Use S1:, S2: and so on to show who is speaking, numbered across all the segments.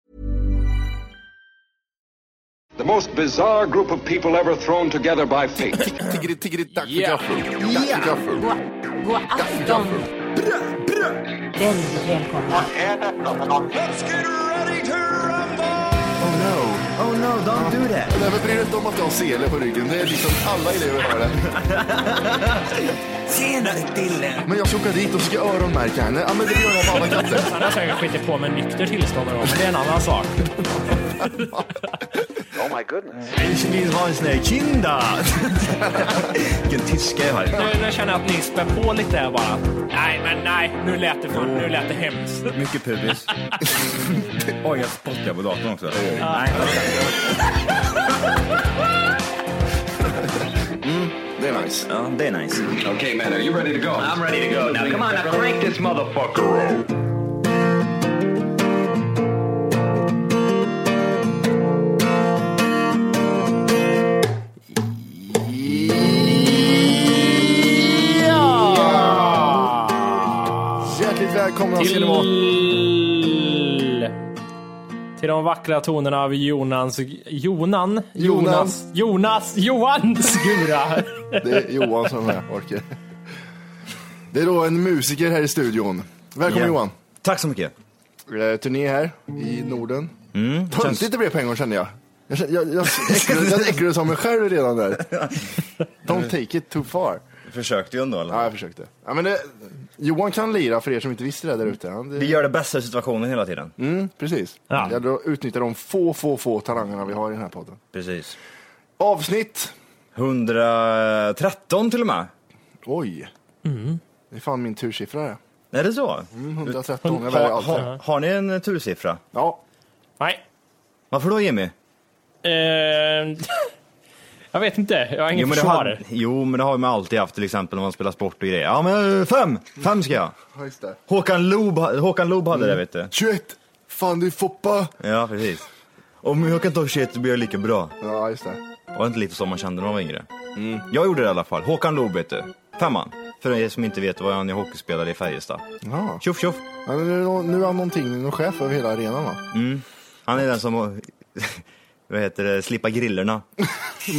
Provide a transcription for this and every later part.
S1: The most bizarre group of people ever thrown together by fate.
S2: Tiggeri, tiggeri, tack för gaffel. Tack för gaffel.
S3: God afton! Väldigt välkomna.
S2: Oh no.
S4: Oh no, don't do that.
S2: Nej, men bry dig inte om att jag har sele på ryggen. Det är liksom alla elever har det.
S4: Tjena Dille!
S2: Men jag ska åka dit och ska öronmärka henne. Ja, men det gör jag med alla katter.
S5: Han har säkert skitit på med nykter tillstånd då, men det är en annan sak.
S4: Ich vill ha en sån här kinda. Vilken tyska jag har.
S5: Nu, nu känner jag att ni spär på lite här bara. Nej, men nej, nu lät det, för, nu lät det hemskt.
S6: Mycket pubis. Oj, jag spottar på datorn också. Nej,
S2: Det är nice.
S6: ja, det är nice.
S1: okay, man, are you ready to go? I'm ready to go. Now, come on, now crank this motherfucker up.
S2: Hjärtligt välkomna ska ni vara.
S5: Till... Till de vackra tonerna av Jonas... Jonan? Jonas? Jonas? Johan Skura!
S2: Det är Johan som är här, orkar. Det är då en musiker här i studion. Välkommen
S6: Ja.
S2: Johan.
S6: Tack så mycket.
S2: Eh, turné här i Norden. Mm, Töntigt det blev på en gång känner jag. Jag, känner- jag, jag, äcklades- jag äcklades av mig själv redan där. Don't take it too far.
S6: Försökte ju ändå. eller?
S2: Ja, jag försökte. Ja, men det, Johan kan lira för er som inte visste det där ute. Han, det,
S6: Vi gör det bästa av situationen hela tiden.
S2: Mm, precis.
S5: Ja.
S2: Jag då utnyttjar de få, få, få talangerna vi har i den här podden.
S6: Precis.
S2: Avsnitt.
S6: 113 till och med.
S2: Oj. Det är fan min tursiffra det.
S6: Är det så?
S2: Mm, 113, jag väljer
S6: Ha,
S2: allt.
S6: ha, har ni en tursiffra?
S2: Ja,
S5: Nej.
S6: Varför då Jimmy?
S5: Eh, jag vet inte, jag har ingen
S6: men det
S5: försvar.
S6: har, jo, men det har man alltid haft till exempel när man spelar sport och grejer. Ja, men eh, fem! Fem ska jag.
S2: ja, just det.
S6: Håkan Loob, Håkan Loob hade det vet du.
S2: 21. Fan du Foppa.
S6: Ja, precis. Om jag kan ta 21 blir jag lika bra.
S2: Ja, just det.
S6: Var det inte lite så man kände när man var yngre?
S5: Mm.
S6: Jag gjorde det i alla fall. Håkan Loob vet du. Femman. För er som inte vet var han är hockeyspelare i Färjestad.
S2: Ja.
S6: Tjoff tjoff.
S2: Ja, men nu, nu är han någonting, någon chef över hela arenan va?
S6: Han är den som, vad heter det, slippa grillorna.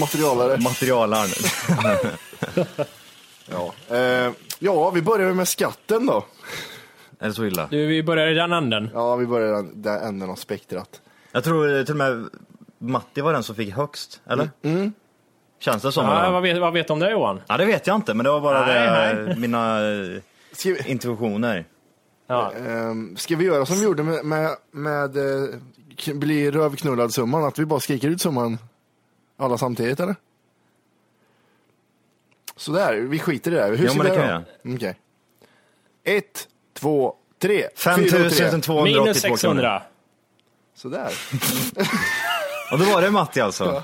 S2: Materialare.
S6: Materialaren.
S2: ja. Eh, ja, vi börjar med skatten då.
S6: Är det så illa?
S5: Du, vi börjar i den änden.
S2: Ja, vi börjar i den där änden av spektrat.
S6: Jag tror eh, till och med Matti var den som fick högst, eller? Känns det som?
S5: Mm. Ja,
S6: eller?
S5: vad, vet, vad vet du om det Johan?
S6: Ja, det vet jag inte, men det var bara
S5: Nej,
S6: det, mina eh,
S2: Ska vi,
S6: intuitioner.
S5: Ja.
S2: Ehm, ska vi göra som vi gjorde med, med, med eh, k- bli rövknullad summan, att vi bara skriker ut summan alla samtidigt eller? Sådär, vi skiter i det här. Hur
S6: Jo,
S2: ser
S6: men det
S2: här
S6: kan
S2: då? Okej. Ett, två, tre. Fyra och tre.
S6: 5282
S5: Minus
S6: kronor.
S5: 600.
S2: Sådär.
S6: Och då var det Matti alltså.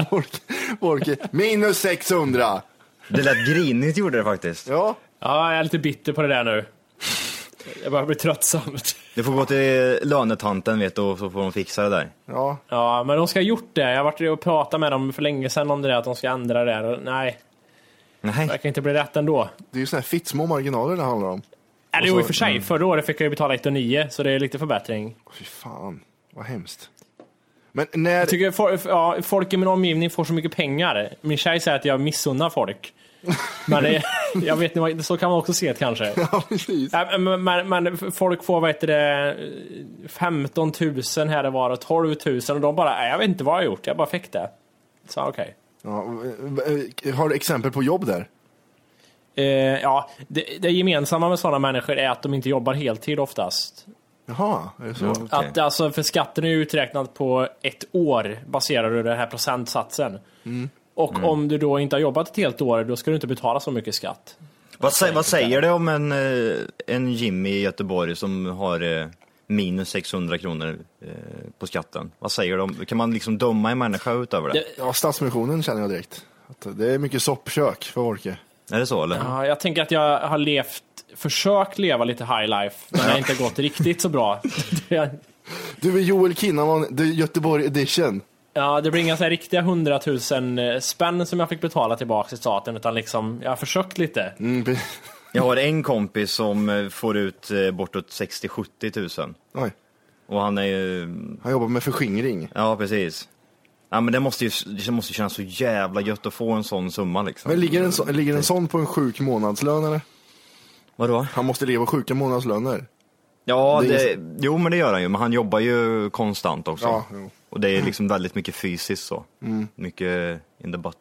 S2: Volke- Volke. Minus 600.
S6: Det lät grinigt gjorde det faktiskt.
S2: Ja,
S5: Ja, jag är lite bitter på det där nu. Jag börjar bli tröttsamt.
S6: Du får gå till lönetanten vet du, och så får de fixa det där.
S2: ja.
S5: Ja, men de ska ha gjort det. Jag har varit och pratat med dem för länge sedan om det där, att de ska ändra det. där. Nej, det
S6: Nej,
S5: verkar inte bli rätt ändå.
S2: Det är ju sådana här fittsmå marginaler det handlar om.
S5: Eller jo, i och för sig. Förra året fick jag ju betala 1,9 så det är lite förbättring.
S2: Fy fan, vad hemskt. Men när...
S5: Jag tycker for, ja, folk i min omgivning får så mycket pengar. Min tjej säger att jag missunnar folk. Men det, jag vet inte, så kan man också se det kanske.
S2: Ja, precis.
S5: Ja, Men, men, men folk får vad heter det, 15 000 här och var och 12 000 och de bara, "Nej, jag vet inte vad jag har gjort, jag bara fick det. Så okej.
S2: Ja, eh, har du exempel på jobb där?
S5: Eh, ja, det, det gemensamma med sådana människor är att de inte jobbar heltid oftast.
S2: Jaha, är det så?
S6: Okej.
S5: Att, alltså, för skatten är ju uträknad på ett år baserar du den här procentsatsen. Och om du då inte har jobbat ett helt år, då ska du inte betala så mycket skatt.
S6: Vad, sä, vad säger det om en, eh, en Jimmy i Göteborg som har eh, minus 600 kronor eh, på skatten? Vad säger det om, kan man liksom döma en människa utöver det?
S2: Ja, Stadsmissionen känner jag direkt. Att det är mycket soppkök för Orke.
S6: Är det så eller?
S5: Ja, jag tänker att jag har levt, försökt leva lite high life, men det har inte gått riktigt så bra. Det-
S2: Du är Joel Kinnaman, The Göteborg edition.
S5: Ja, det blir inga så här riktiga hundratusen eh, spänn som jag fick betala tillbaka till staten, utan liksom, jag har försökt lite.
S2: Mm, be-
S6: Jag har en kompis som eh, får ut eh, bortåt 60-70 tusen.
S2: Oj,
S6: Och han är ju,
S2: han jobbar med förskingring.
S6: ja precis. Ja men det måste ju, det måste ju kännas så jävla gött att få en sån summa liksom.
S2: Men ligger en, så, ligger en sån på en sjuk månadslön eller?
S6: Vadå?
S2: Han måste leva sjuka månadslöner.
S6: Ja,
S2: Det
S6: det,
S2: är-
S6: jo men det gör han ju, men han jobbar ju konstant också.
S2: Ja, jo. Mm.
S6: Och det är liksom väldigt mycket fysiskt så. Mycket in the butt.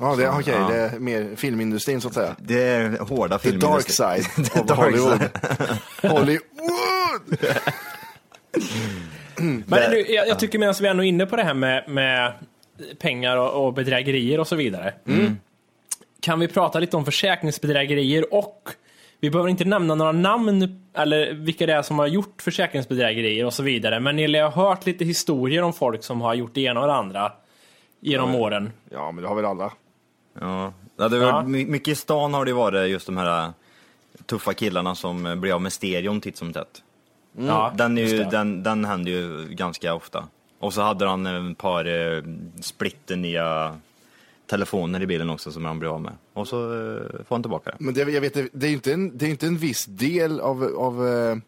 S2: Ja, det, okej,
S6: Ja.
S2: det är mer filmindustrin så att säga.
S6: Det är hårda
S2: The
S6: filmer.
S2: dark side
S6: The
S2: of
S6: dark
S2: Hollywood.
S6: side.
S2: Hollywood!
S5: Men
S6: Det-
S5: nu, jag, jag tycker medan vi är ändå är inne på det här med, med pengar och, och bedrägerier och så vidare.
S6: Mm.
S5: Kan vi prata lite om försäkringsbedrägerier och vi behöver inte nämna några namn eller vilka det är som har gjort försäkringsbedrägerier och så vidare. Men ni har hört lite historier om folk som har gjort det ena och det andra genom åren.
S2: Ja, men det har väl alla.
S6: Ja. Ja, det
S5: Ja.
S6: var, my- mycket i stan har det varit just de här eh, tuffa killarna som eh, blir av med stereon titt som tätt.
S5: Ja,
S6: Mm. Den, är
S5: just
S6: ju,
S5: det.
S6: den, den händer ju ganska ofta. Och så hade han ett par eh, splitternya telefoner i bilen också som han blev av med. Och så eh, får han tillbaka det.
S2: Men det, jag vet, det är ju inte en, det är inte en viss del av, av, eh, eh,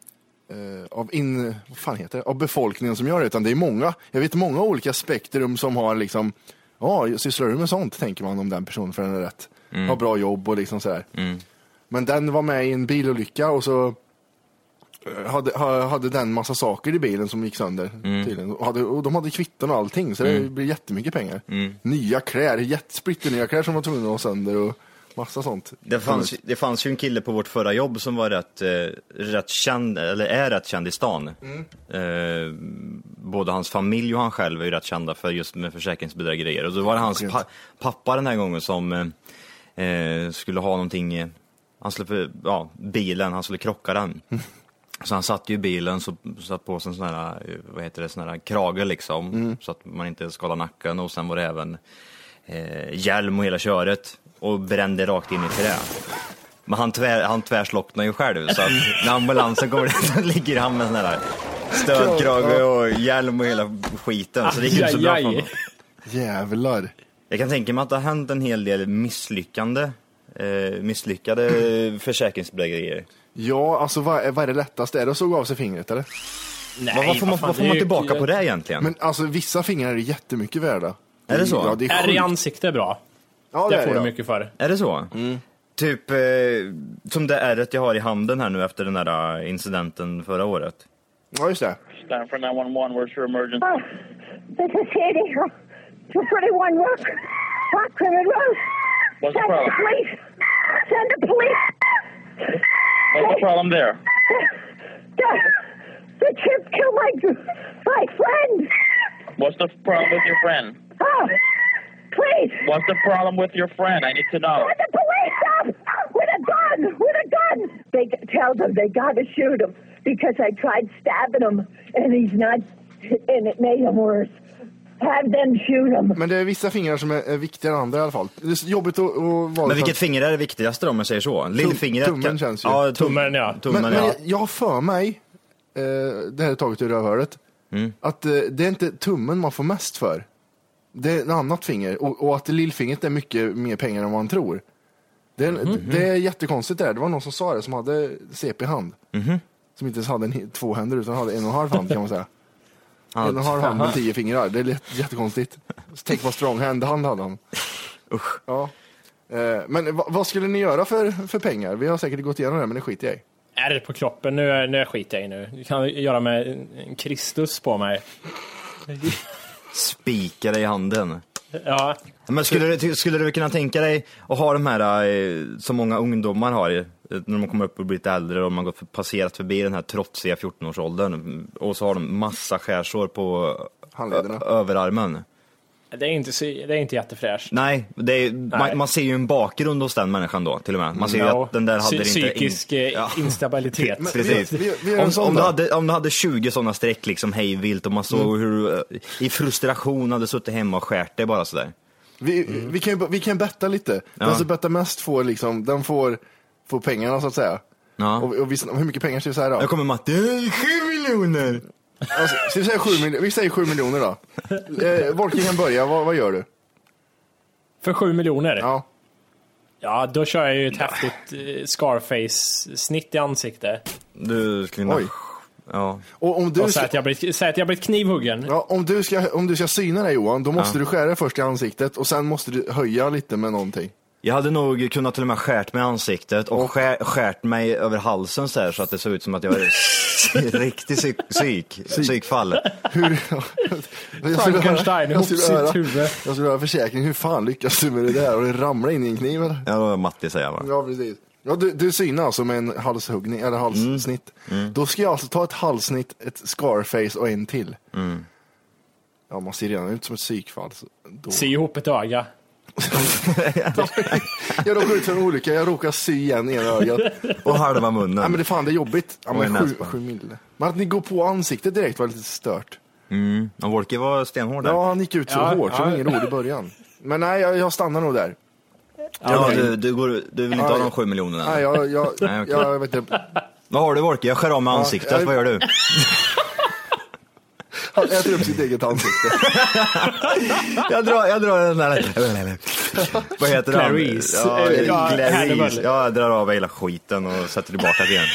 S2: av, in, vad fan heter det? av befolkningen som gör det, utan det är många. Jag vet många olika spektrum som har liksom, ja, sysslar du med sånt, tänker man om den personen för den är rätt.
S6: Mm.
S2: Har bra jobb och liksom sådär. Men den var med i en bilolycka och så eh, hade, ha- hade den massa saker i bilen som gick sönder
S6: Mm.
S2: tydligen. Och, hade, och de hade kvitton och allting så det blev jättemycket pengar.
S6: Mm.
S2: Nya kläder, jättesplitter nya kläder som var tvungna att ha sönder och massa sånt.
S6: Det fanns, det fanns ju en kille på vårt förra jobb som var rätt, eh, rätt känd, eller är rätt känd i stan. Eh, både hans familj och han själv är ju rätt kända för just med försäkringsbedrägerier. Och då var det hans pa- pappa den här gången som eh, eh, skulle ha någonting, eh, han skulle, för- ja, bilen, han skulle krocka den. Så han satt ju i bilen så satt på sig en sån här, eh, vad heter det, sån här krage liksom. Så att man inte skadar nacken och sen var det även eh, hjälm och hela köret och brände rakt in i trä. Men han, tvär, han tvärslocknade ju själv så att när ambulansen kommer dit så ligger han med sån här stödkrage och hjälm och hela skiten. Så det gick inte så bra för
S5: Ajajaj.
S6: honom.
S2: Jävlar.
S6: Jag kan tänka mig att det har hänt en hel del misslyckande, eh, misslyckade försäkringsbedrägerier.
S2: Ja, alltså vad, vad är det lättaste? Är det att såga av sig fingret eller?
S5: Nej,
S6: Vad, vad får man,
S5: fan,
S6: vad får
S5: det är
S6: man
S5: ju-
S6: tillbaka på det egentligen?
S2: Men alltså vissa fingrar är jättemycket värda.
S6: Är det så?
S2: Ja, det är
S5: Ärr i
S2: sjukt.
S5: ansiktet är bra.
S2: Ja,
S5: det
S2: är
S5: får du
S2: ja.
S5: mycket för.
S6: Är det så?
S5: Mm.
S6: Typ eh, som det ärret jag har i handen här nu efter den där eh, incidenten förra året.
S2: Ja, just det.
S7: Stand for 911. Where's your emergency?
S3: Oh, this is Sandy Hill, 241 Rock, Rock Crimin Road.
S7: What's the
S3: Send
S7: problem?
S3: police. Send the police.
S7: What's the problem there?
S3: The, the chip killed my, my friend.
S7: What's the problem with your friend?
S3: Oh, please.
S7: What's the problem with your friend? I need to know.
S3: Send the police up with a gun, with a gun. They g- tell them they gotta shoot him because I tried stabbing him and he's not, and it made him worse. Have them shoot him.
S2: Men det är vissa fingrar som är, är viktigare än andra i alla fall. Det är så jobbigt att, att vara...
S6: Men vilket finger är det viktigaste då, om jag säger så? Lillfingret?
S2: tummen
S6: kan-
S2: känns ju.
S6: Ja, tum-
S5: Tummen, ja.
S6: Tummen,
S2: men, men
S6: ja.
S2: jag, jag har för mig, eh, det här är taget ur rövhålet, att eh, det är inte tummen man får mest för. Det är ett annat finger och, och att lillfingret är mycket mer pengar än vad man tror. Det är, det är jättekonstigt det där. Det var någon som sa det som hade CP-hand. Som inte ens hade en, två händer utan hade en och en halv hand kan man säga. en och en halv hand med tio fingrar. Det är lätt- jättekonstigt. Så Tänk vad strong hand han hade han. Usch. Ja. Eh, Men va- vad skulle ni göra för, för pengar? Vi har säkert gått igenom det, men det skiter jag i.
S5: Är på kroppen, nu, är- nu är jag skit jag i nu. Du kan göra med en- en Kristus på mig.
S6: Spika dig i handen.
S5: Ja,
S6: Men skulle du, skulle du kunna tänka dig att ha de här, eh, som många ungdomar har, eh, när de kommer upp och blir lite äldre och man har gått- passerat förbi den här trotsiga 14-årsåldern och så har de massa skärsår på
S2: Handlederna.
S6: ö- överarmen.
S5: det är inte, så- det är inte jättefräscht.
S6: Nej, det är,
S5: Nej.
S6: Man, man ser ju en bakgrund hos den människan då till och med. Man ser ju
S5: Ja,
S6: att den där hade
S5: psy-
S6: det inte... in-
S5: Psykisk eh,
S6: Ja.
S5: instabilitet.
S2: Men-
S6: Precis.
S2: Vi- vi- vi gör en
S6: om,
S2: sån
S6: om, du
S2: då. Mm.
S6: hade, om du hade 20 sådana streck liksom hejvilt och man såg hur du eh, i frustration hade suttit hemma och skärt dig bara sådär.
S2: Vi, vi, kan, ju- vi kan betta lite. Den
S6: Mm. Ja.
S2: som bettar mest får, liksom, den får, får pengarna så att säga.
S6: Ja.
S2: Och, och vi, hur mycket pengar ska vi säga då?
S6: Då kommer Matte, "Eh, sju miljoner!
S2: Alltså, ska vi, säga sju, mil- vi säger sju miljoner då. Eh, Volker kan börja, vad, vad gör du?
S5: För sju miljoner? Ja.
S2: Ja.
S5: då kör jag ju ett häftigt eh, Scarface-snitt i ansiktet.
S6: Du skulle kunna...
S2: Oj.
S6: Ja.
S2: Och om du,
S5: Och
S2: ska,
S5: säg att jag blir, säg att jag blir knivhuggen.
S2: ja, om, du ska, om du ska syna det Johan, då måste du skära först i ansiktet och sen måste du höja lite med någonting.
S6: Jag hade nog kunnat till och med skärt mig i ansiktet och skär, skärt mig över halsen så här så att det såg ut som att jag var riktigt psyk, psyk, psykfall.
S2: Hur, jag skulle
S5: Frankenstein
S2: höra-
S5: ihop
S2: jag skulle
S5: sitt
S2: höra-
S5: huvud.
S2: jag skulle höra försäkring, hur fan lyckas du med det där? Har du ramlat in i en kniv eller?
S6: Ja, det var Matti säger jag bara.
S2: Ja, precis. Ja, du, du synar alltså med en halshuggning, eller halssnitt. Då ska jag alltså ta ett halssnitt, ett scarface och en till. Ja, man ser redan ut som ett psykfall. så Då...
S5: Sy ihop ett öga.
S2: jag råkar ut för en olycka, jag råkar sy igen ena ögat.
S6: Och halva
S2: Nej men
S6: munnen.
S2: det fan, det är jobbigt. Ja,
S6: Och en
S2: men sju,
S6: näsband.
S2: sju mille. Men att ni går på ansiktet direkt var lite stört.
S6: Ja, Wolke var stenhård där.
S2: Ja, han gick ut så
S5: Ja,
S2: hårt, så det var ingen rolig i början. Men nej, jag, jag stannar nog där.
S6: Ja, du, du, går, du vill inte ha de sju miljonerna?
S2: Nej, jag, jag,
S6: Nej, okej.
S2: jag vet inte.
S6: Vad har du Wolke? Jag skär av mig ansiktet,
S2: jag-
S6: vad gör du?
S2: Han äter upp sitt eget ansikte.
S6: Jag drar, jag drar den där... Vad heter han?
S5: Clarice. Eh,
S6: Ja,
S5: Ja,
S6: Clarice.
S5: Hannibal.
S6: Ja, jag drar av mig hela skiten och sätter tillbaka det igen.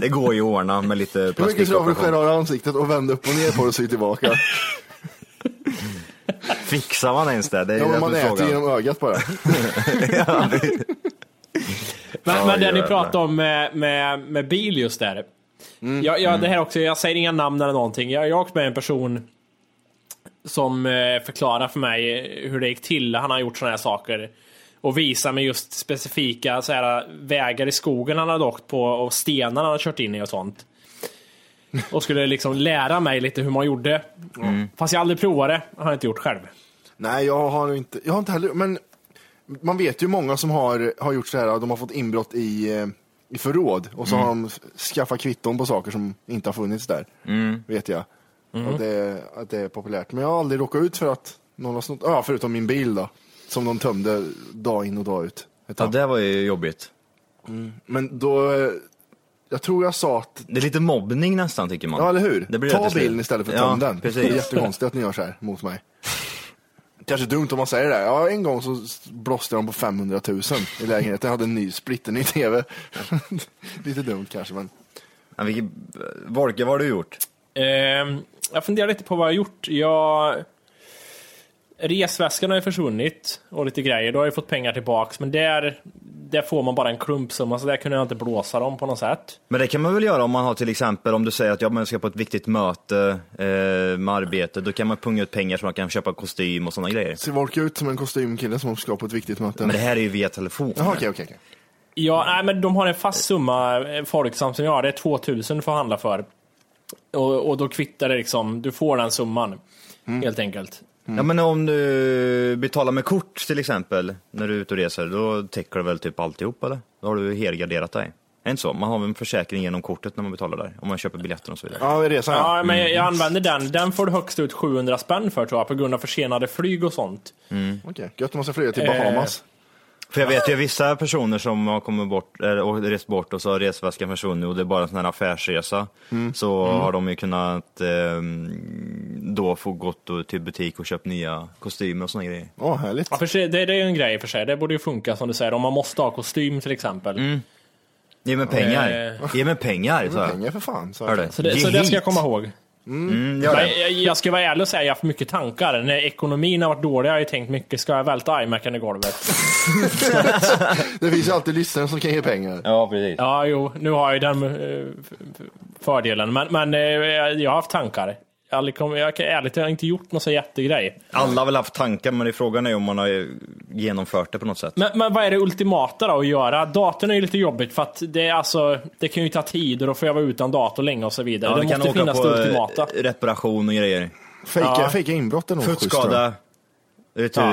S6: Det går ju att ordna med lite
S2: Hur mycket tror du att du skär
S6: plastikoperation.
S2: av ansiktet och vänder upp och ner på det och sy tillbaka?
S6: Fixar man ens det? Det är
S2: Ja,
S6: ju
S2: men
S6: det
S2: man
S6: som är
S2: äter
S6: frågan.
S2: genom ögat bara.
S5: Men, men det ni
S6: jävlar.
S5: pratade om med, med, med bil just där. Jag, jag, det här också, jag säger inga namn eller någonting. Jag jag har åkt med en person som eh, förklarar för mig hur det gick till. Han har gjort sådana här saker. Och visar mig just specifika så här, vägar i skogen han hade åkt på och stenar han hade kört in i och sånt. Och skulle liksom lära mig lite hur man gjorde. Fast jag aldrig provade det. Har jag inte gjort själv.
S2: Nej, jag har nog inte, jag har inte heller, men man vet ju många som har, har gjort så här, de har fått inbrott i, eh, i förråd och så har de skaffat kvitton på saker som inte har funnits där. Vet jag. Och det, att det är populärt. Men jag har aldrig råkat ut för att någon har snott, ja förutom min bil då, som de tömde dag in och dag ut. Ett
S6: Ja,
S2: tag.
S6: det var ju jobbigt.
S2: Men då, eh, jag tror jag sa att
S6: Det är lite mobbning nästan tycker man.
S2: Ja, eller hur?
S6: Det blir det
S2: Ta
S6: till slut.
S2: bilen istället för att
S6: Ja,
S2: töm den. Det är
S6: precis.
S2: jättekonstigt att ni gör så här mot mig. Kanske dumt om man säger det. Ja, en gång så blåste de på 500 000 i lägenheten. Jag hade en ny splitterny tv. Lite dumt kanske, men
S6: Ja, vilket- Wolke, vad har du gjort?
S5: Ehm, jag funderar lite på vad jag har gjort. Jag... Resväskan har ju försvunnit och lite grejer. Då har jag fått pengar tillbaks. Men där, där får man bara en klumpsumma så där kunde jag inte blåsa dem på något sätt.
S6: Men det kan man väl göra om man har till exempel, om du säger att jag men jag ska på ett viktigt möte eh, med arbete, då kan man punga ut pengar så man kan köpa kostym och sådana grejer.
S2: ser Volker ut som en kostymkille som ska på ett viktigt möte.
S6: Men det här är ju via telefon.
S2: Jaha, okej, okej. okej.
S5: Ja, nej, men de har en fast summa, eh, Folksam, som jag har. Det är 2000 du får handla för. Och, och då kvittar det liksom. Du får den summan.
S2: Mm.
S5: Helt enkelt.
S6: Ja men om du betalar med kort till exempel, när du är ute och reser, då täcker du väl typ alltihop eller? Då har du helgarderat dig. Är det inte så? Man har väl en försäkring genom kortet när man betalar där, om man köper biljetten och så vidare.
S2: Ja, resan ja. Mm.
S5: Ja, men jag, jag använder den. Den får du högst ut 700 spänn för tror jag, på grund av försenade flyg och sånt.
S2: Mm, Okej. Gött om man ska flyga
S5: Eh.
S2: till Bahamas.
S6: För jag vet ju vissa personer som har kommit bort, eller, och rest bort och så har resväskan försvunnit och det är bara en sån här affärsresa.
S2: Mm.
S6: Så har de ju kunnat ehm, då få gått och- till butik och köpt nya kostymer och såna grejer.
S2: Åh, härligt.
S5: Ja, för sig, det, det är ju en grej i och för sig. Det borde ju funka som du säger. Om man måste ha kostym till exempel.
S6: Mm. Ge mig pengar! Ge mig pengar! Så.
S2: Eh. Mm, Pengar för fan. Så
S6: Hör du?
S5: Så, det,
S6: Ge
S5: så det ska jag
S6: hit.
S5: komma ihåg.
S6: Mm, gör
S5: Men
S6: det.
S5: jag, jag ska vara ärlig och säga jag har haft mycket tankar. När ekonomin har varit dålig har jag tänkt mycket, ska jag välta iMacen i golvet?
S2: Det finns ju alltid lyssnare som kan ge pengar.
S6: Ja, precis.
S5: Ja, jo, nu har jag ju den eh, f- f- fördelen. Men, men eh, jag jag har haft tankar. Jag, aldrig kom, jag, kan- ärligt, jag har inte gjort någon så jättegrej.
S6: Alla har väl haft tankar, men det är frågan är om man har eh, genomfört det på något sätt.
S5: Men, men vad är det ultimata då att göra? Datorn är ju lite jobbigt för att det, är alltså, det kan ju ta tid och då får jag vara utan dator länge och så vidare.
S6: Ja,
S5: det
S6: vi kan
S5: måste
S6: åka
S5: finnas
S6: på
S5: det
S6: eh,
S5: ultimata.
S6: reparation och grejer.
S2: Fejka, fejka inbrott är nog schysst, tror jag.
S6: Fuktskada,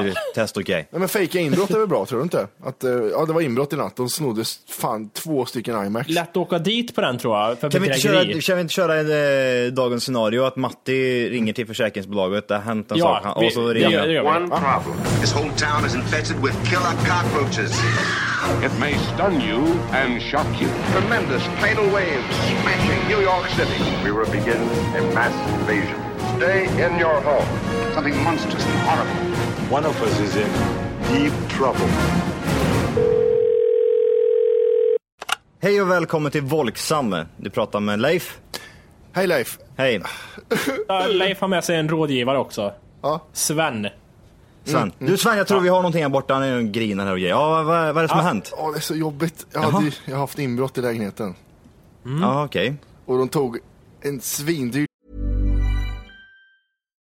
S6: returtest och grej.
S2: Nej men fejka inbrott är väl bra, tror du inte? Att, eh, ja, det var inbrott i natt, de snodde s- fan två stycken iMacs.
S5: Lätt att åka dit på den tror jag, för
S6: Kan vi, inte köra,
S5: bedrägeri.
S6: kan vi inte köra eh, dagens scenario att Matti ringer till försäkringsbolaget, det har hänt en
S5: Ja,
S6: sak, han-
S5: vi-
S6: och så
S5: det
S6: ringer
S5: gör- det
S6: han.
S5: gör vi.
S1: problem. This whole town is infested with killer cockroaches. It may stun you and shock you. Tremendous tidal waves smashing New York City. We will begin a mass invasion. Stay in your home. Something monstrous and horrible. One of us is in deep trouble.
S6: Hej och välkommen till Volksam. Du pratar med Leif.
S2: Hej Leif!
S6: Hej,
S5: Mm, Ja, Leif har med sig en rådgivare också.
S2: Ja.
S5: Sven.
S6: Sven.
S5: mm.
S6: Du Sven, jag tror vi har någonting här borta, han är och grinar här och grejer. Ja, vad, vad är det som har hänt?
S2: Ja, det är så jobbigt. Jag,
S6: Jaha.
S2: hade, jag har haft inbrott i lägenheten.
S5: Mm.
S6: Ja, okej.
S2: Och de tog en svindyr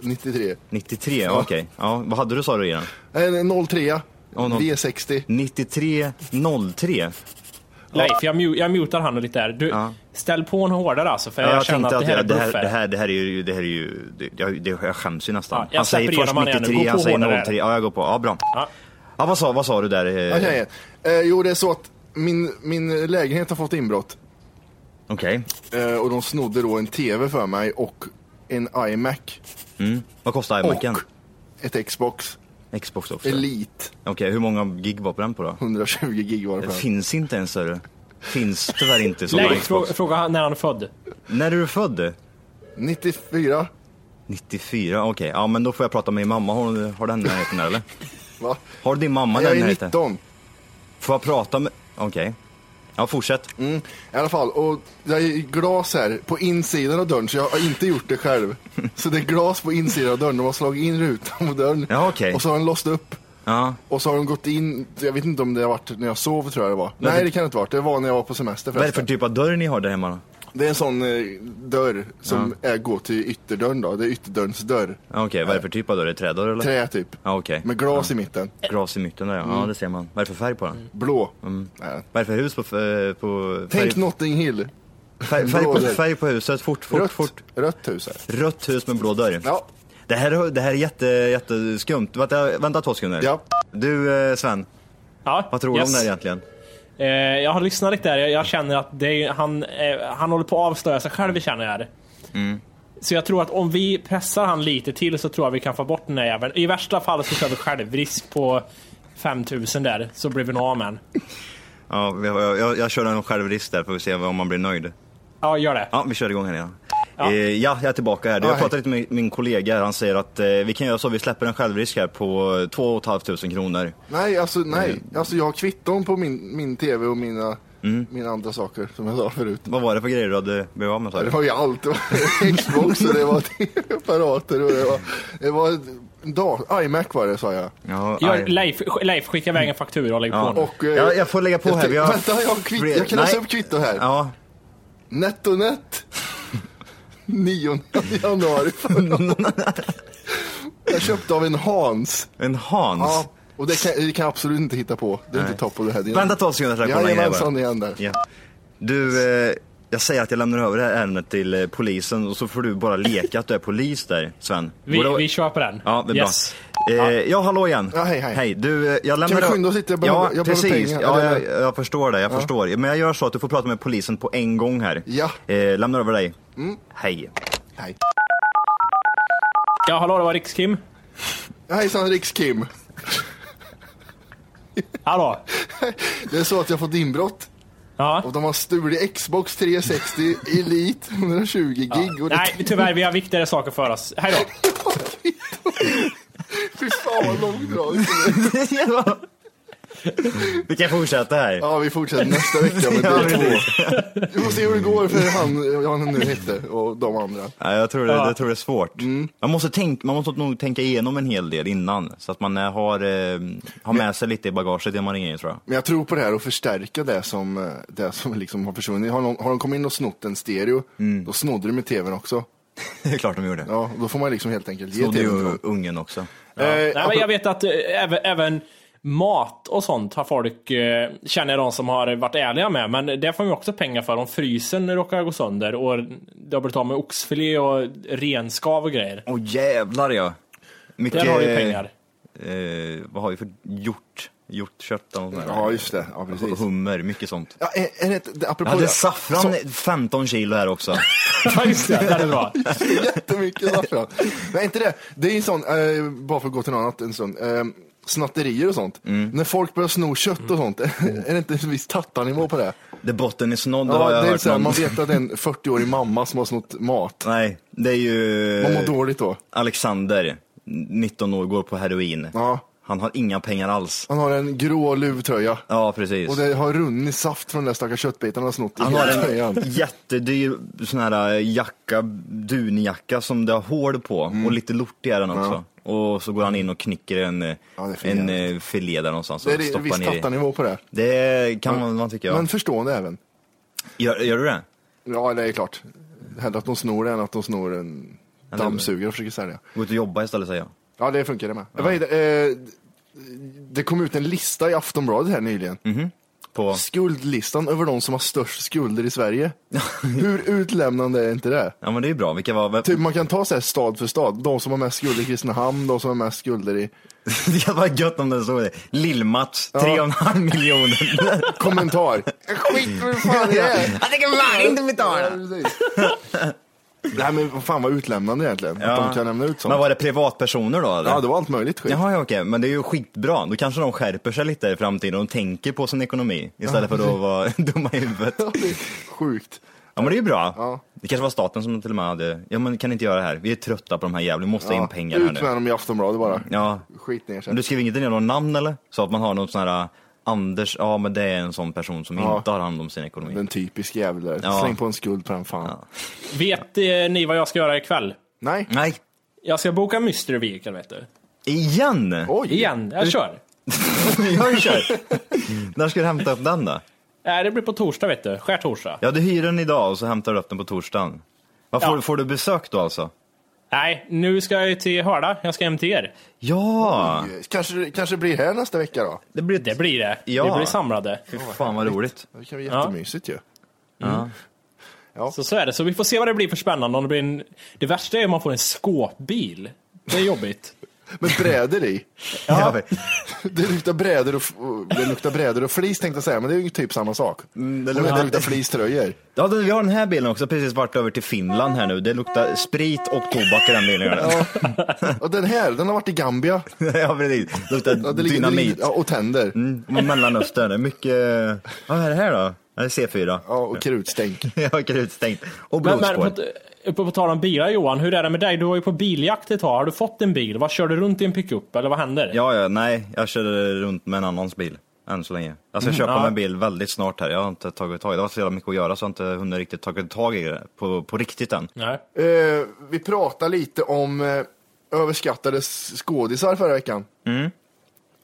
S2: 93.
S6: 93, ja. okej. Ja, vad hade du sa du i den?
S2: En 03
S6: Ja, noll-
S2: V60.
S6: 93, 03?
S5: Leif, jag, mu- jag mutar han lite där. Du,
S6: Ja.
S5: Ställ på en hårdare alltså, för
S6: Ja,
S5: jag,
S6: jag
S5: känner
S6: tänkte
S5: att det här är
S6: det här,
S5: bluffer.
S6: det här, det här är ju, det här är ju, det, jag, det, jag skäms ju nästan.
S5: Ja, jag
S6: han säger
S5: separerar
S6: först
S5: man igen nu.
S6: 93,
S5: Gå
S6: han
S5: på hårdare.
S6: säger 03. Ja, jag går på. Ja, bra.
S5: Ja.
S6: Ja. vad, sa, vad sa du där? eh?
S2: Ja, tjejen. Eh, jo, det är så att min, min lägenhet har fått inbrott.
S6: Okej.
S2: Eh, och de snodde då en tv för mig och en iMac.
S6: Vad kostar iMacen?
S2: Ett Xbox
S6: Xbox också. Okej,
S2: Elite.
S6: hur många gig var på den på då?
S2: 120 gig var det
S6: Det
S2: på den.
S6: finns inte ens, hörru. Finns tyvärr inte sådana
S5: Leif, fråga,
S6: Xbox.
S5: fråga han när han är född.
S6: När är du född?
S2: 94.
S6: 94, okej. Ja, men då får jag prata med din mamma. Har, har den närheten där, eller?
S2: Va?
S6: Har din mamma
S2: Jag
S6: den
S2: är
S6: närheten?
S2: 19.
S6: Får jag prata med... Okej. Ja, fortsätt.
S2: Mm, I alla fall, och det är glas här på insidan av dörren, så jag har inte gjort det själv. Så det är glas på insidan av dörren, de har slagit in rutan på dörren.
S6: Ja, okej.
S2: Och så har den låst upp.
S6: Ja.
S2: Och så har de gått in, jag vet inte om det har varit när jag sov tror jag det var. Nej det kan det inte ha varit, det var när jag var på semester
S6: Vad är det för
S2: förresten.
S6: typ av dörr ni har där hemma då?
S2: Det är en sån eh, dörr som är, går till ytterdörren då, det är ytterdörrens dörr.
S6: Ja, Okej, vad är det för typ av dörr? Är det trädörr eller?
S2: Trä Mm. typ.
S6: Ja, okej.
S2: Med glas i mitten,
S6: Glas i mitten där ja. ja, det ser man. Vad är det för färg på den?
S2: blå. Nej.
S6: Vad är det för hus på... f- på Mm. färg,
S2: Tänk Notting Hill,
S6: färg, färg, på
S2: blå dörr.
S6: färg på huset, fort, fort,
S2: rött,
S6: fort.
S2: rött hus här.
S6: Rött hus med blå dörr.
S2: Ja,
S6: Det här, det här är jätte, jätteskumt. Vänta, vänta två sekunder.
S2: Ja.
S6: Du eh, Sven,
S5: Ja,
S6: vad tror du
S5: yes.
S6: om det här egentligen?
S5: Eh, jag har lyssnat lite där. Jag, jag känner att det är, han, eh, han håller på att avslöja sig själv, känner jag.
S6: Mm.
S5: Så jag tror att om vi pressar han lite till så tror jag vi kan få bort den där jäveln. I värsta fall så kör vi självrisk på 5000 där, så blir vi nog av med den.
S6: Ja, vi har- jag, jag, jag kör en självrist där, får vi se om man blir nöjd.
S5: Ja, gör det.
S6: Ja, vi kör igång här igen.
S5: Ja.
S6: Ja. ja, jag är tillbaka här.
S2: Ja,
S6: Jag
S2: hej.
S6: pratade lite med min kollega här, han säger att eh, vi kan göra så, vi släpper en självrisk här på 2 500 kronor.
S2: Nej, alltså
S6: Eh.
S2: nej. Alltså jag har kvitton på min, min tv och mina,
S6: Mm.
S2: mina andra saker som jag sa förut.
S6: Vad var det för grejer du hade blivit av med? sa
S2: Det
S6: du?
S2: var ju allt. Det var Xbox och det var TV-apparater och det var, det var da- iMac var det sa jag.
S6: Ja,
S5: Ja,
S6: aj.
S5: Leif, Leif skickar iväg en faktura och lägger
S6: Ja.
S5: på nu.
S2: Och, eh,
S6: Ja, jag får lägga på
S2: jag
S6: här.
S2: tänk-
S6: Vi har...
S2: vänta, jag har kvitt-
S6: fler-
S2: jag kan läsa
S6: Nej.
S2: upp kvitto här.
S6: Ja.
S2: Nettonet 9 januari förra året. Jag köpte av en Hans.
S6: En Hans.
S2: Ja, och det kan, vi kan absolut inte hitta på. Det är inte topp på det här. Det är-
S6: Vänta två sekunder så jag kollar in det
S2: Jajamensan
S6: bara.
S2: igen där.
S6: Ja. Du, eh, jag säger att jag lämnar över det här ärendet till eh, polisen och så får du bara leka att du är polis där, Sven.
S5: Vi,
S6: Går det-
S5: vi köper den.
S6: Ja, det är
S5: Yes.
S6: bra. Eh, ja, hallå igen.
S2: Ja, hej, hej.
S6: du, eh, jag lämnar
S2: Kan vi skynda oss lite? Jag behöver-
S6: ja,
S2: jag behöver
S6: precis.
S2: pengar,
S6: Ja,
S2: eller-
S6: jag, jag förstår det, jag förstår. Men jag gör så att du får prata med polisen på en gång här.
S2: Ja. Mm.
S6: Eh, lämnar över dig. Hej.
S2: Hej.
S5: Ja, hallå, det var Rikskrim.
S2: Hejsan Riks-Kim.
S5: Hallå?
S2: Det är så att jag fått inbrott
S5: Ja.
S2: och de har stulit Xbox 360 Elite 120 gig. Och det,
S5: Nej, tyvärr, vi har viktigare saker för oss. Hej då.
S2: fy fan vad långdraget det är.
S6: Vi kan fortsätta här.
S2: Ja, vi fortsätter nästa vecka med del två. Vi får se hur det går för han, vad han nu hette, och de andra.
S6: Ja, jag, tror det,
S5: Ja.
S6: jag tror det är svårt.
S2: Mm.
S6: Man, måste tänka, man måste nog tänka igenom en hel del innan, så att man eh, har, eh, har med sig lite i bagaget när man ringer in tror jag.
S2: Men jag tror på det här och förstärka det som, eh, det som liksom har försvunnit. Har, någon, har de kommit in och snott en stereo,
S6: Mm.
S2: då snodde de med tvn också.
S6: Det är klart de gjorde.
S2: Ja, då får man liksom helt enkelt ge
S6: Snodde
S2: tvn till
S6: ju
S2: dem.
S6: ungen också.
S5: Nej, men jag vet att eh, även, även mat och sånt har folk, eh, känner jag de som har varit ärliga med, men det får man ju också pengar för om frysen råkar gå sönder och det har blivit av med oxfilé och renskav och grejer.
S6: Åh jävlar ja. Mycket,
S5: Där har vi pengar.
S6: Eh, vad har vi för hjort? Hjortkött eller något sånt där.
S2: Ja, just det. Ja, precis.
S6: Hummer, mycket sånt.
S2: Ja, är, är det,
S6: Jag
S2: apropå
S6: hade saffran 15 kilo här också.
S5: Ja, just det. Den är bra.
S2: Jättemycket saffran. Nej, inte det. Det är ju en sån, eh, bara för att gå till något annat en stund. Eh, snatterier och sånt.
S6: Mm.
S2: När folk börjar sno kött och sånt, är det inte en viss tattarnivå på det?
S6: Det botten är snodd, det
S2: Ja,
S6: har jag
S2: det är
S6: hört.
S2: så här,
S6: någon-
S2: man vet att det är en 40-årig mamma som har snott mat.
S6: Nej, det är ju
S2: Man mår dåligt då.
S6: Alexander, 19 år, går på heroin.
S2: Ja.
S6: Han har inga pengar alls.
S2: Han har en grå luvtröja.
S6: Ja, precis.
S2: Och det har runnit saft från den där stackars köttbiten han har snott i
S6: Han har
S2: hela
S6: en
S2: tröjan.
S6: jättedyr sån här eh, jacka, dunjacka som det har hål på
S2: Mm.
S6: och lite lortig är den också. Och så går han in och knicker en, eh,
S2: det är för
S6: en
S2: jävligt.
S6: eh, filé där någonstans och
S2: Det är en
S6: stoppar
S2: viss
S6: ner i.
S2: tattarnivå på det.
S6: Det kan man, man tycka. Ja.
S2: Men förstående även.
S6: Gör, gör du det?
S2: Ja, det är klart. Hellre att de snor det än att de snor en dammsugare och försöker sälja.
S6: Gå ut och jobba istället säger jag.
S2: Ja, det funkar det med. Vad heter det? Eh, det kom ut en lista i Aftonbladet här nyligen.
S6: Mm. På...
S2: Skuldlistan över de som har störst skulder i Sverige. Hur utlämnande är inte det?
S6: Ja men det är ju bra, vilka var... Vem...
S2: Typ man kan ta så här stad för stad. De som har mest skulder i Kristinehamn, de som har mest skulder i...
S6: det var gött om det stod det. Lill-Mats, 3,5 miljoner.
S2: Kommentar. Skit för fan i det är.
S6: Jag tänker fan inte
S2: Ja, precis. Nej men vad fan vad utlämnande egentligen. Att de kan lämna ut sånt.
S6: Men var det privatpersoner då eller?
S2: Ja, det var allt möjligt skit.
S6: Jaha, ja, okej, men det är ju skitbra. Då kanske de skärper sig lite i framtiden och tänker på sin ekonomi istället för att vara dumma i huvudet.
S2: Det är Sjukt.
S6: Ja, men det är ju bra.
S2: Ja.
S6: Det kanske var staten som till och med hade, ja men kan ni inte göra det här? Vi är trötta på de här jävla, vi måste in pengar här
S2: Ut
S6: nu.
S2: med dem i Aftonbladet bara.
S6: Ja.
S2: Skit ner sig.
S6: Men du skriver inte ner några namn eller? Så att man har något sån här, äh, Anders, ja men det är en sån person som
S2: Ja.
S6: inte har hand om sin ekonomi.
S2: Den typiska jäveln där.
S6: Ja.
S2: Släng på en skuld på den fan.
S5: Vet eh, ni vad jag ska göra ikväll?
S2: Nej.
S6: Nej,
S5: Jag ska boka Mystery Vehicle, vet du.
S6: igen!
S2: Oj.
S5: Igen, jag kör.
S6: Jag kör. När ska du hämta upp den då?
S5: Nej, det blir på torsdag, vet du. Skärtorsdag.
S6: Ja, du hyr den idag och så hämtar du upp den på torsdagen. Vad får,
S5: Ja.
S6: får du besök då alltså?
S5: Nej, nu ska jag ju till Hörda. Jag ska hem till er.
S6: Ja!
S2: Kanske, kanske blir här nästa vecka då.
S6: Det blir
S5: Det blir det.
S6: Ja.
S5: Vi blir samlade.
S6: Fy fan vad roligt.
S2: Det kan bli jättemysigt ju.
S5: Så så är det. Så vi får se vad det blir för spännande. Om det, blir en... det värsta är om man får en skåpbil. Det är jobbigt.
S2: Med brädor i.
S6: Ja.
S2: Det luktar brädor och, f- och- det luktar brädor och flis tänkte jag säga, men det är ju typ samma sak.
S6: Mm, det
S2: det,
S6: luktar-
S2: luktar... det luktar fliströjor.
S6: Ja, då, vi har den här bilen också, precis varit över till Finland här nu. Det luktar sprit och tobak i den bilen. gör det.
S2: Och den här, den har varit i Gambia.
S6: ja, precis. Det luktar
S2: Ja, det ligger-
S6: dynamit.
S2: Ja, och tänder.
S6: Mm, och Mellanöstern, mycket... Vad är det här då? Ja, Det är C4.
S2: Ja, och krutstänk.
S6: Jag har utstängt. Och
S5: Men, men på,
S6: blodspår.
S5: på, på tal om bilar Johan, hur är det med dig? Du var ju på biljakt ett tag. Har du fått en bil? Vad kör du runt i en pickup? Eller vad händer?
S6: Ja, ja, nej, jag körde runt med en annans bil. Än så länge. Jag ska köpa mig en bil väldigt snart här. Jag har inte tagit tag i det. Det var så jävla mycket att göra så jag har inte hunnit riktigt tagit tag i det på, på riktigt än.
S5: Nej.
S2: Eh, vi pratar lite om eh, överskattade skådisar förra veckan.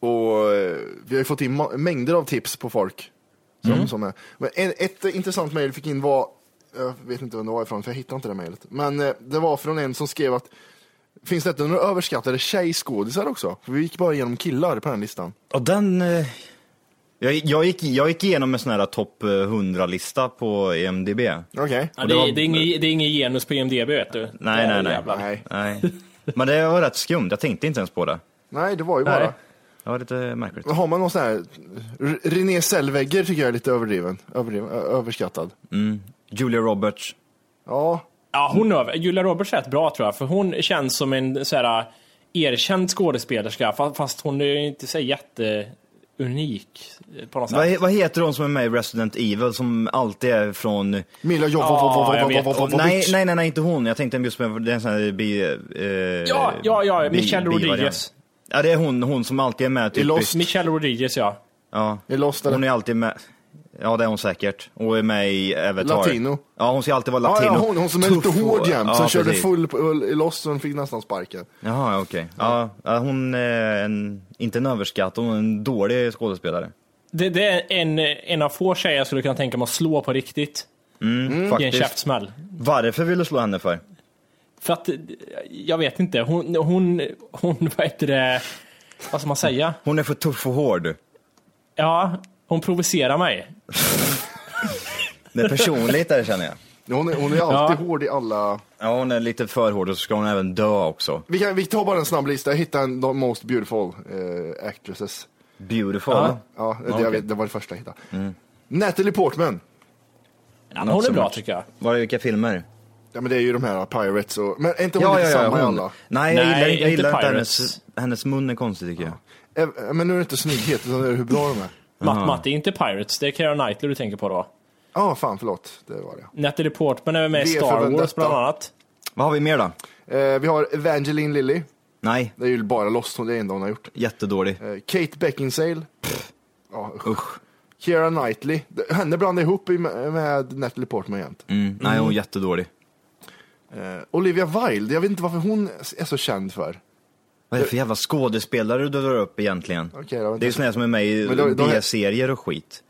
S2: Och eh, vi har ju fått in ma- mängder av tips på folk. Som, som är. Men en, ett eh, intressant mejl vi fick in var, jag vet inte vem det var ifrån för jag hittade inte det mejlet. Men eh, det var från en som skrev att Finns det inte några överskattade tjejskådisar också? För vi gick bara igenom killar på den listan.
S6: Och den... eh, Jag, jag, gick, jag gick igenom en sån här topp eh, 100-lista på E EMDB.
S2: Okej.
S5: Ja,
S6: Och det
S5: det,
S6: var-
S5: är- det, är inget, det är inget genus på IMDB vet du.
S6: Nej, nej, nej.
S5: Jävlar.
S2: Nej.
S6: Nej. Men det var rätt skumt, jag tänkte inte ens på det.
S2: Nej, det var ju
S6: Nej.
S2: bara.
S6: Det var lite märkligt.
S2: Har man någon sån här, R- René Zellweger tycker jag är lite överdriven, överdriven ö- överskattad.
S6: Julia Roberts.
S2: Ja,
S5: Ja, hon över. Julia Roberts är rätt bra tror jag, för hon känns som en så här, eh, erkänd skådespelerska, fa- fast hon är inte så jätteunik eh, på något sätt.
S6: Vad, he- vad heter hon som är med i Resident Evil som alltid är från...
S2: Milla
S5: Ja, jag vet.
S2: Jovovovovovovovovovovovovovovovovovovovovovovovovovovovovovovovovovitch.
S6: Nej, nej, nej, nej, inte hon. Jag tänkte just på det är en sån här bi... Eh,
S5: Ja, ja, ja,
S6: bi-
S5: Michelle
S6: bivariant.
S5: Rodriguez.
S6: Ja, det är hon, hon som alltid är med.
S2: I
S6: Typ,
S2: Lost.
S5: Michelle Rodriguez ja.
S6: ja.
S2: Är Lost eller?
S6: Hon är alltid med. Ja, det är hon säkert. Och är med i Avatar.
S2: Latino.
S6: Ja, hon ska alltid vara
S2: Ja,
S6: latino.
S2: ja, hon, hon som är lite
S6: Tuff och-
S2: hård jämt,
S6: ja,
S2: som körde
S6: precis.
S2: full på- i Lost och fick nästan sparken.
S6: Jaha, okej. Ja, ja, hon är en, inte en överskatt, hon är en dålig skådespelare.
S5: Det, det är en, en av få tjejer jag skulle kunna tänka mig att slå på riktigt.
S2: Mm.
S5: I en
S6: Faktiskt.
S5: käftsmäll.
S6: Varför vill du slå henne för?
S5: För att, eh, jag vet inte, hon, hon, hon vad heter det, vad ska man säga?
S6: Hon är för tuff och hård.
S5: Ja, hon provocerar mig.
S6: Det är personligt där känner jag.
S2: Hon är, hon är alltid hård i alla...
S6: Ja, hon är lite för hård och så ska hon även dö också.
S2: Vi, kan, vi tar bara en snabb lista, jag hittade en The Most Beautiful eh, Actresses.
S6: Beautiful.
S5: Ja.
S2: Ja, det, jag vet, det var det första jag hittade.
S6: Mm.
S2: Natalie Portman.
S5: Ja,
S6: Not
S5: hon är
S6: so
S5: bra
S6: much.
S5: tycker jag.
S6: Var det vilka filmer?
S2: Ja men det är ju de här Pirates och... Men är inte hon lite samma i alla?
S6: Nej, jag
S5: Nej,
S6: gillar, jag gillar
S5: inte
S6: inte
S5: Pirates.
S6: hennes, hennes mun är konstig tycker jag.
S2: Eh, Men nu är det inte snygghet, utan det är hur bra de är.
S5: Matt, Matt, det är inte Pirates, det är Keira Knightley du tänker på då.
S2: Ja, fan förlåt. Det var det.
S5: Natalie Portman är med i
S2: V för
S5: Star Wars
S2: Vendetta.
S5: bland annat.
S6: Vad har vi mer då?
S2: Eh, vi har Evangeline Lilly.
S6: Nej,
S2: Det är ju bara Lost, hon- det är det enda hon har gjort.
S6: jättedålig.
S2: Eh, Kate Beckinsale. Ja, usch. Keira Knightley. D- Henne blandade ihop i- med med Natalie Portman jämt.
S6: Mm. Nej, hon är jättedålig.
S2: Eh, Olivia Wilde, jag vet inte varför hon är så känd för.
S6: Vad är det för jävla skådespelare du drar upp egentligen?
S2: Okej, då, vänta.
S6: det är ju såna här som är med i
S2: Men då- då-
S6: B-serier och skit.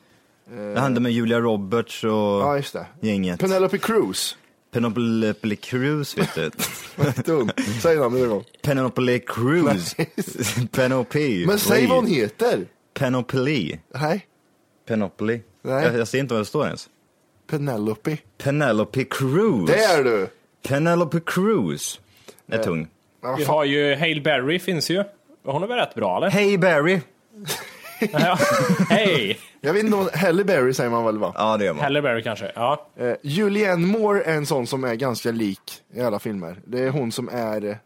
S6: Det hände med Julia Roberts och
S2: Ja, just det.
S6: gänget.
S2: Penelope Cruz.
S6: Penelope Cruz vet du.
S2: Dum. Säg namnet någon gång.
S6: Penelope Cruz. Penelope.
S2: Men säg vad hon
S6: Lee.
S2: heter.
S6: Penelope.
S2: Nej,
S6: Penelope.
S2: Nej.
S6: Jag, jag ser inte vad det står ens.
S2: Penelope.
S6: Penelope Cruz.
S2: Där du! Eh.
S6: Penelope Cruz. Är tung.
S2: Ja,
S5: Vi
S2: fan.
S5: har ju Hail Berry finns ju. Hon är väl rätt bra eller?
S6: Hey Barry.
S5: Ja. Hej!
S2: Jag vet inte om Halle Berry säger man väl va?
S6: Ja det gör man.
S5: Halle Berry kanske, ja.
S2: Eh, Julianne Moore är en sån som är ganska lik i alla filmer. Det är hon som är... eh,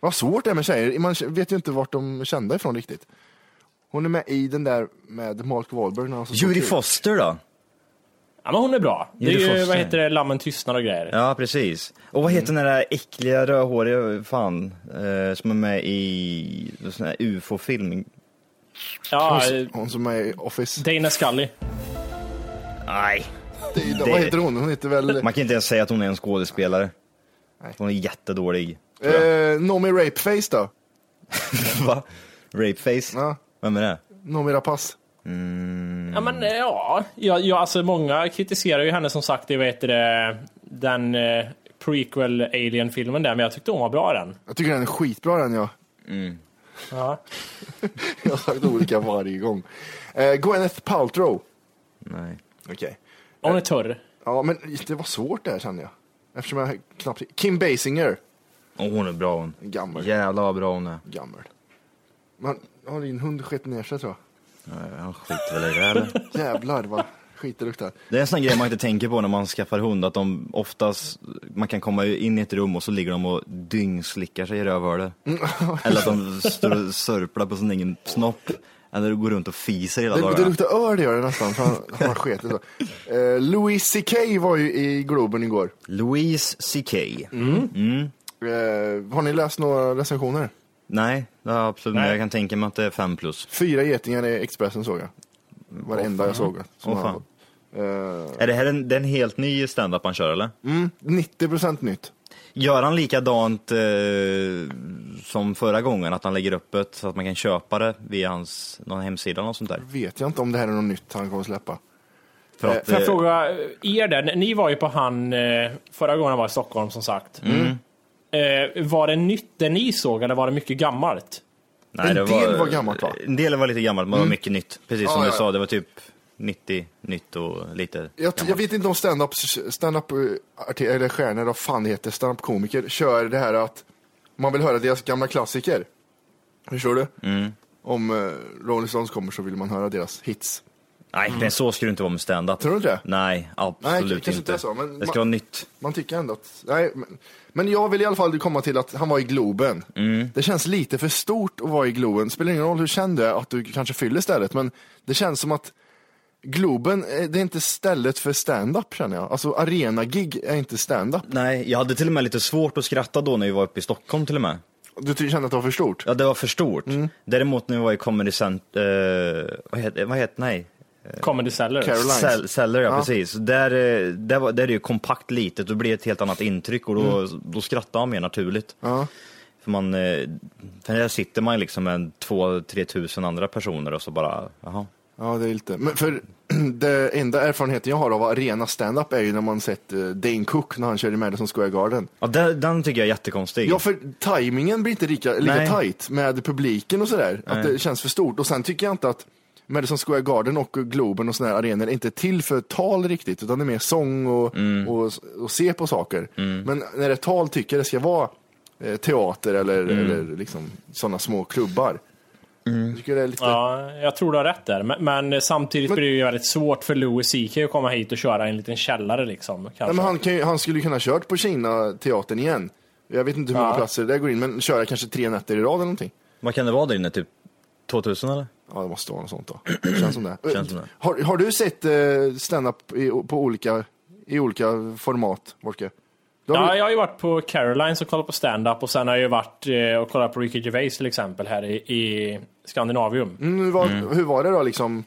S2: Vad svårt det är med tjejer. Man vet ju inte vart de är kända ifrån riktigt. Hon är med i den där med Mark Wahlberg. när han så-
S6: Judy Foster då?
S5: Ja men hon är bra. Det
S6: Judy
S5: är ju,
S6: Foster.
S5: vad heter det, Lammen tystnar och grejer.
S6: Ja precis. Och vad
S2: Mm.
S6: heter den där äckliga rödhåriga fan eh, som är med i en sån här ufo-film?
S2: Ah,
S5: Ja, eh,
S2: Hon som är i Office.
S5: Dana Scully.
S6: Nej.
S2: Det- Vad heter hon? Hon heter väl...
S6: Man kan inte ens säga att hon är en skådespelare. Hon är jättedålig.
S2: Eh, Nomi Rapeface då?
S6: Va? Rapeface?
S2: Ja.
S6: Vem är det?
S2: Nomi Rapace?
S6: Mm.
S5: Ja men eh, ja, ja, ja alltså många kritiserar ju henne som sagt i vad heter det, den eh, prequel Alien-filmen där, men jag tyckte hon var bra i den.
S2: Jag tycker den är skitbra den jag.
S5: Ja.
S2: Jag har sagt olika varje gång. Eh, Gwyneth Paltrow.
S6: Nej.
S2: Okej.
S5: Hon är törr.
S2: Ja, men det var svårt det här kände jag. Eftersom jag knappt... Kim Basinger.
S6: Åh, hon är bra hon.
S2: Gammal.
S6: Jävlar vad bra hon är.
S2: gammal. Man har din hund skett ner sig tror
S6: Nej, Han skiter väl i det eller?
S2: jag. Jävlar vad skit det luktar.
S6: Det är en sån grej man inte tänker på när man skaffar hund, att de oftast, man kan komma in i ett rum och så ligger de och dyngslickar sig i rövhålet. Eller att de står och sörplar på sin egen snopp. Eller går runt och fiser hela
S2: Det, det
S6: dagarna.
S2: luktar öl gör det nästan, för han, han har sketit så. Eh, Louis CK var ju i Globen igår.
S6: Louise CK.
S2: Eh, har ni läst några recensioner?
S6: Nej, det har jag absolut inte.
S5: Nej.
S6: Jag kan tänka mig att det är fem plus.
S2: Fyra getingar i Expressen såg jag. Varenda jag såg. som
S6: Åh,
S2: jag
S6: fan.
S2: har fått. Eh,
S6: Är det här en, det är en helt ny standup man kör eller?
S2: 90 procent nytt.
S6: Gör han likadant eh, som förra gången, att han lägger upp ett så att man kan köpa det via hans någon hemsida eller något sånt där?
S2: Vet jag inte om det här är något nytt han kommer släppa.
S6: För att,
S5: Får jag
S6: eh,
S5: fråga er där, ni var ju på han, eh, förra gången han var i Stockholm som sagt.
S6: Mm.
S5: Eh, Var det nytt det ni såg eller var det mycket gammalt?
S6: nej,
S2: en
S6: det
S2: del var gammalt, va? Mm.
S6: En del var lite gammalt, men det var mycket nytt. Precis som
S2: Ja,
S6: du
S2: ja, ja.
S6: sa, det var typ 90 nytt och lite
S2: Jag, jag vet inte om stand-up, stand-up eh, arti- eller stjärnor, eller vad fan det heter, stand-up komiker kör det här att man vill höra deras gamla klassiker. Förstår du?
S6: Mm.
S2: Om eh, Rolling Stones kommer så vill man höra deras hits.
S6: Nej, men så ska det inte vara med stand-up.
S2: Tror du inte det?
S6: Nej,
S2: Nej,
S6: absolut
S2: kanske inte
S6: inte.
S2: är så, men
S6: det ska
S2: man-
S6: vara nytt.
S2: Man tycker ändå att, nej, men, men jag vill i alla fall komma till att han var i Globen. Det känns lite för stort att vara i Globen. Spelar ingen roll hur känd du är, att du kanske fyller stället, men det känns som att Globen, eh, det är inte stället för stand-up känner jag. Alltså arena-gig är inte stand-up.
S6: Nej, jag hade till och med lite svårt att skratta då när vi var uppe i Stockholm till och med.
S2: Du ty- kände att det var för stort?
S6: Ja, det var för stort.
S2: Mm.
S6: Däremot när vi var i Comedy Center, eh, vad heter, vad heter, nej,
S5: Comedy Cellar?
S2: Carol- Carolines.
S6: Cell, Cellar, ja, precis. Där, eh, där, var, där är det ju kompakt litet, då blir det ett helt annat intryck och då, då skrattar man mer naturligt.
S2: Ja.
S6: För, man, eh, för där sitter man ju liksom med två, tre tusen andra personer och så bara, jaha.
S2: Ja, det är lite. Men för det enda erfarenheten jag har av arena stand-up är ju när man sett eh, Dane Cook när han körde Madison Square Garden.
S6: Ja, den, den tycker jag är jättekonstig.
S2: Ja, för tajmingen blir inte lika, lika
S6: Nej.
S2: tajt med publiken och sådär. Att det känns för stort. Och sen tycker jag inte att Madison Square Garden och Globen och sådana här arenor är inte till för tal riktigt, utan det är mer sång och,
S5: Mm.
S2: och, och se på saker. Men när det är tal tycker jag det ska vara eh, teater eller,
S5: Mm.
S2: eller liksom sådana små klubbar. Jag tycker det är lite...
S5: Ja, jag tror du har rätt där. Men, men samtidigt
S2: Men-
S5: blir det ju väldigt svårt för Louis CK att komma hit och köra i en liten källare liksom. Kanske.
S2: Nej, men han, kan ju, han skulle ju kunna ha kört på Kina-teatern igen. Jag vet inte hur många
S5: Ja.
S2: platser det där går in, men köra kanske tre nätter i rad eller någonting.
S6: Vad kan det vara där inne, typ 2000 eller?
S2: Ja, det måste vara något sånt då. Känns som det.
S6: Känns som det.
S2: Har, har du sett eh, stand-up i, på olika, i olika format, Wolke? Du har
S5: Ja,
S2: väl-
S5: jag har ju varit på Carolines och kollat på stand-up och sen har jag ju varit eh, och kollat på Ricky Gervais till exempel här i, i Skandinavium.
S2: Mm, hur, var, hur var det då liksom?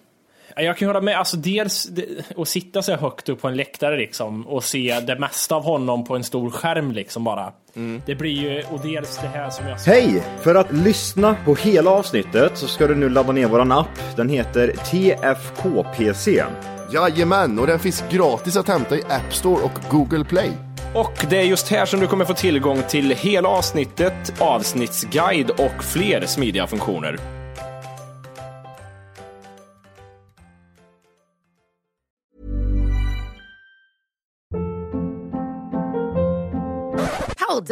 S5: Ja, Jag kan hålla med. Alltså, dels det- att sitta så här högt upp på en läktare liksom, och se det mesta av honom på en stor skärm liksom bara.
S2: Mm.
S5: Det blir ju, och dels det här som jag sa.
S6: Hej! För att lyssna på hela avsnittet så ska du nu ladda ner våran app. Den heter TFKPC.
S2: Jajamän, och den finns gratis att hämta i App Store och Google Play.
S8: Och det är just här som du kommer få tillgång till hela avsnittet, avsnittsguide och fler smidiga funktioner.
S9: Hold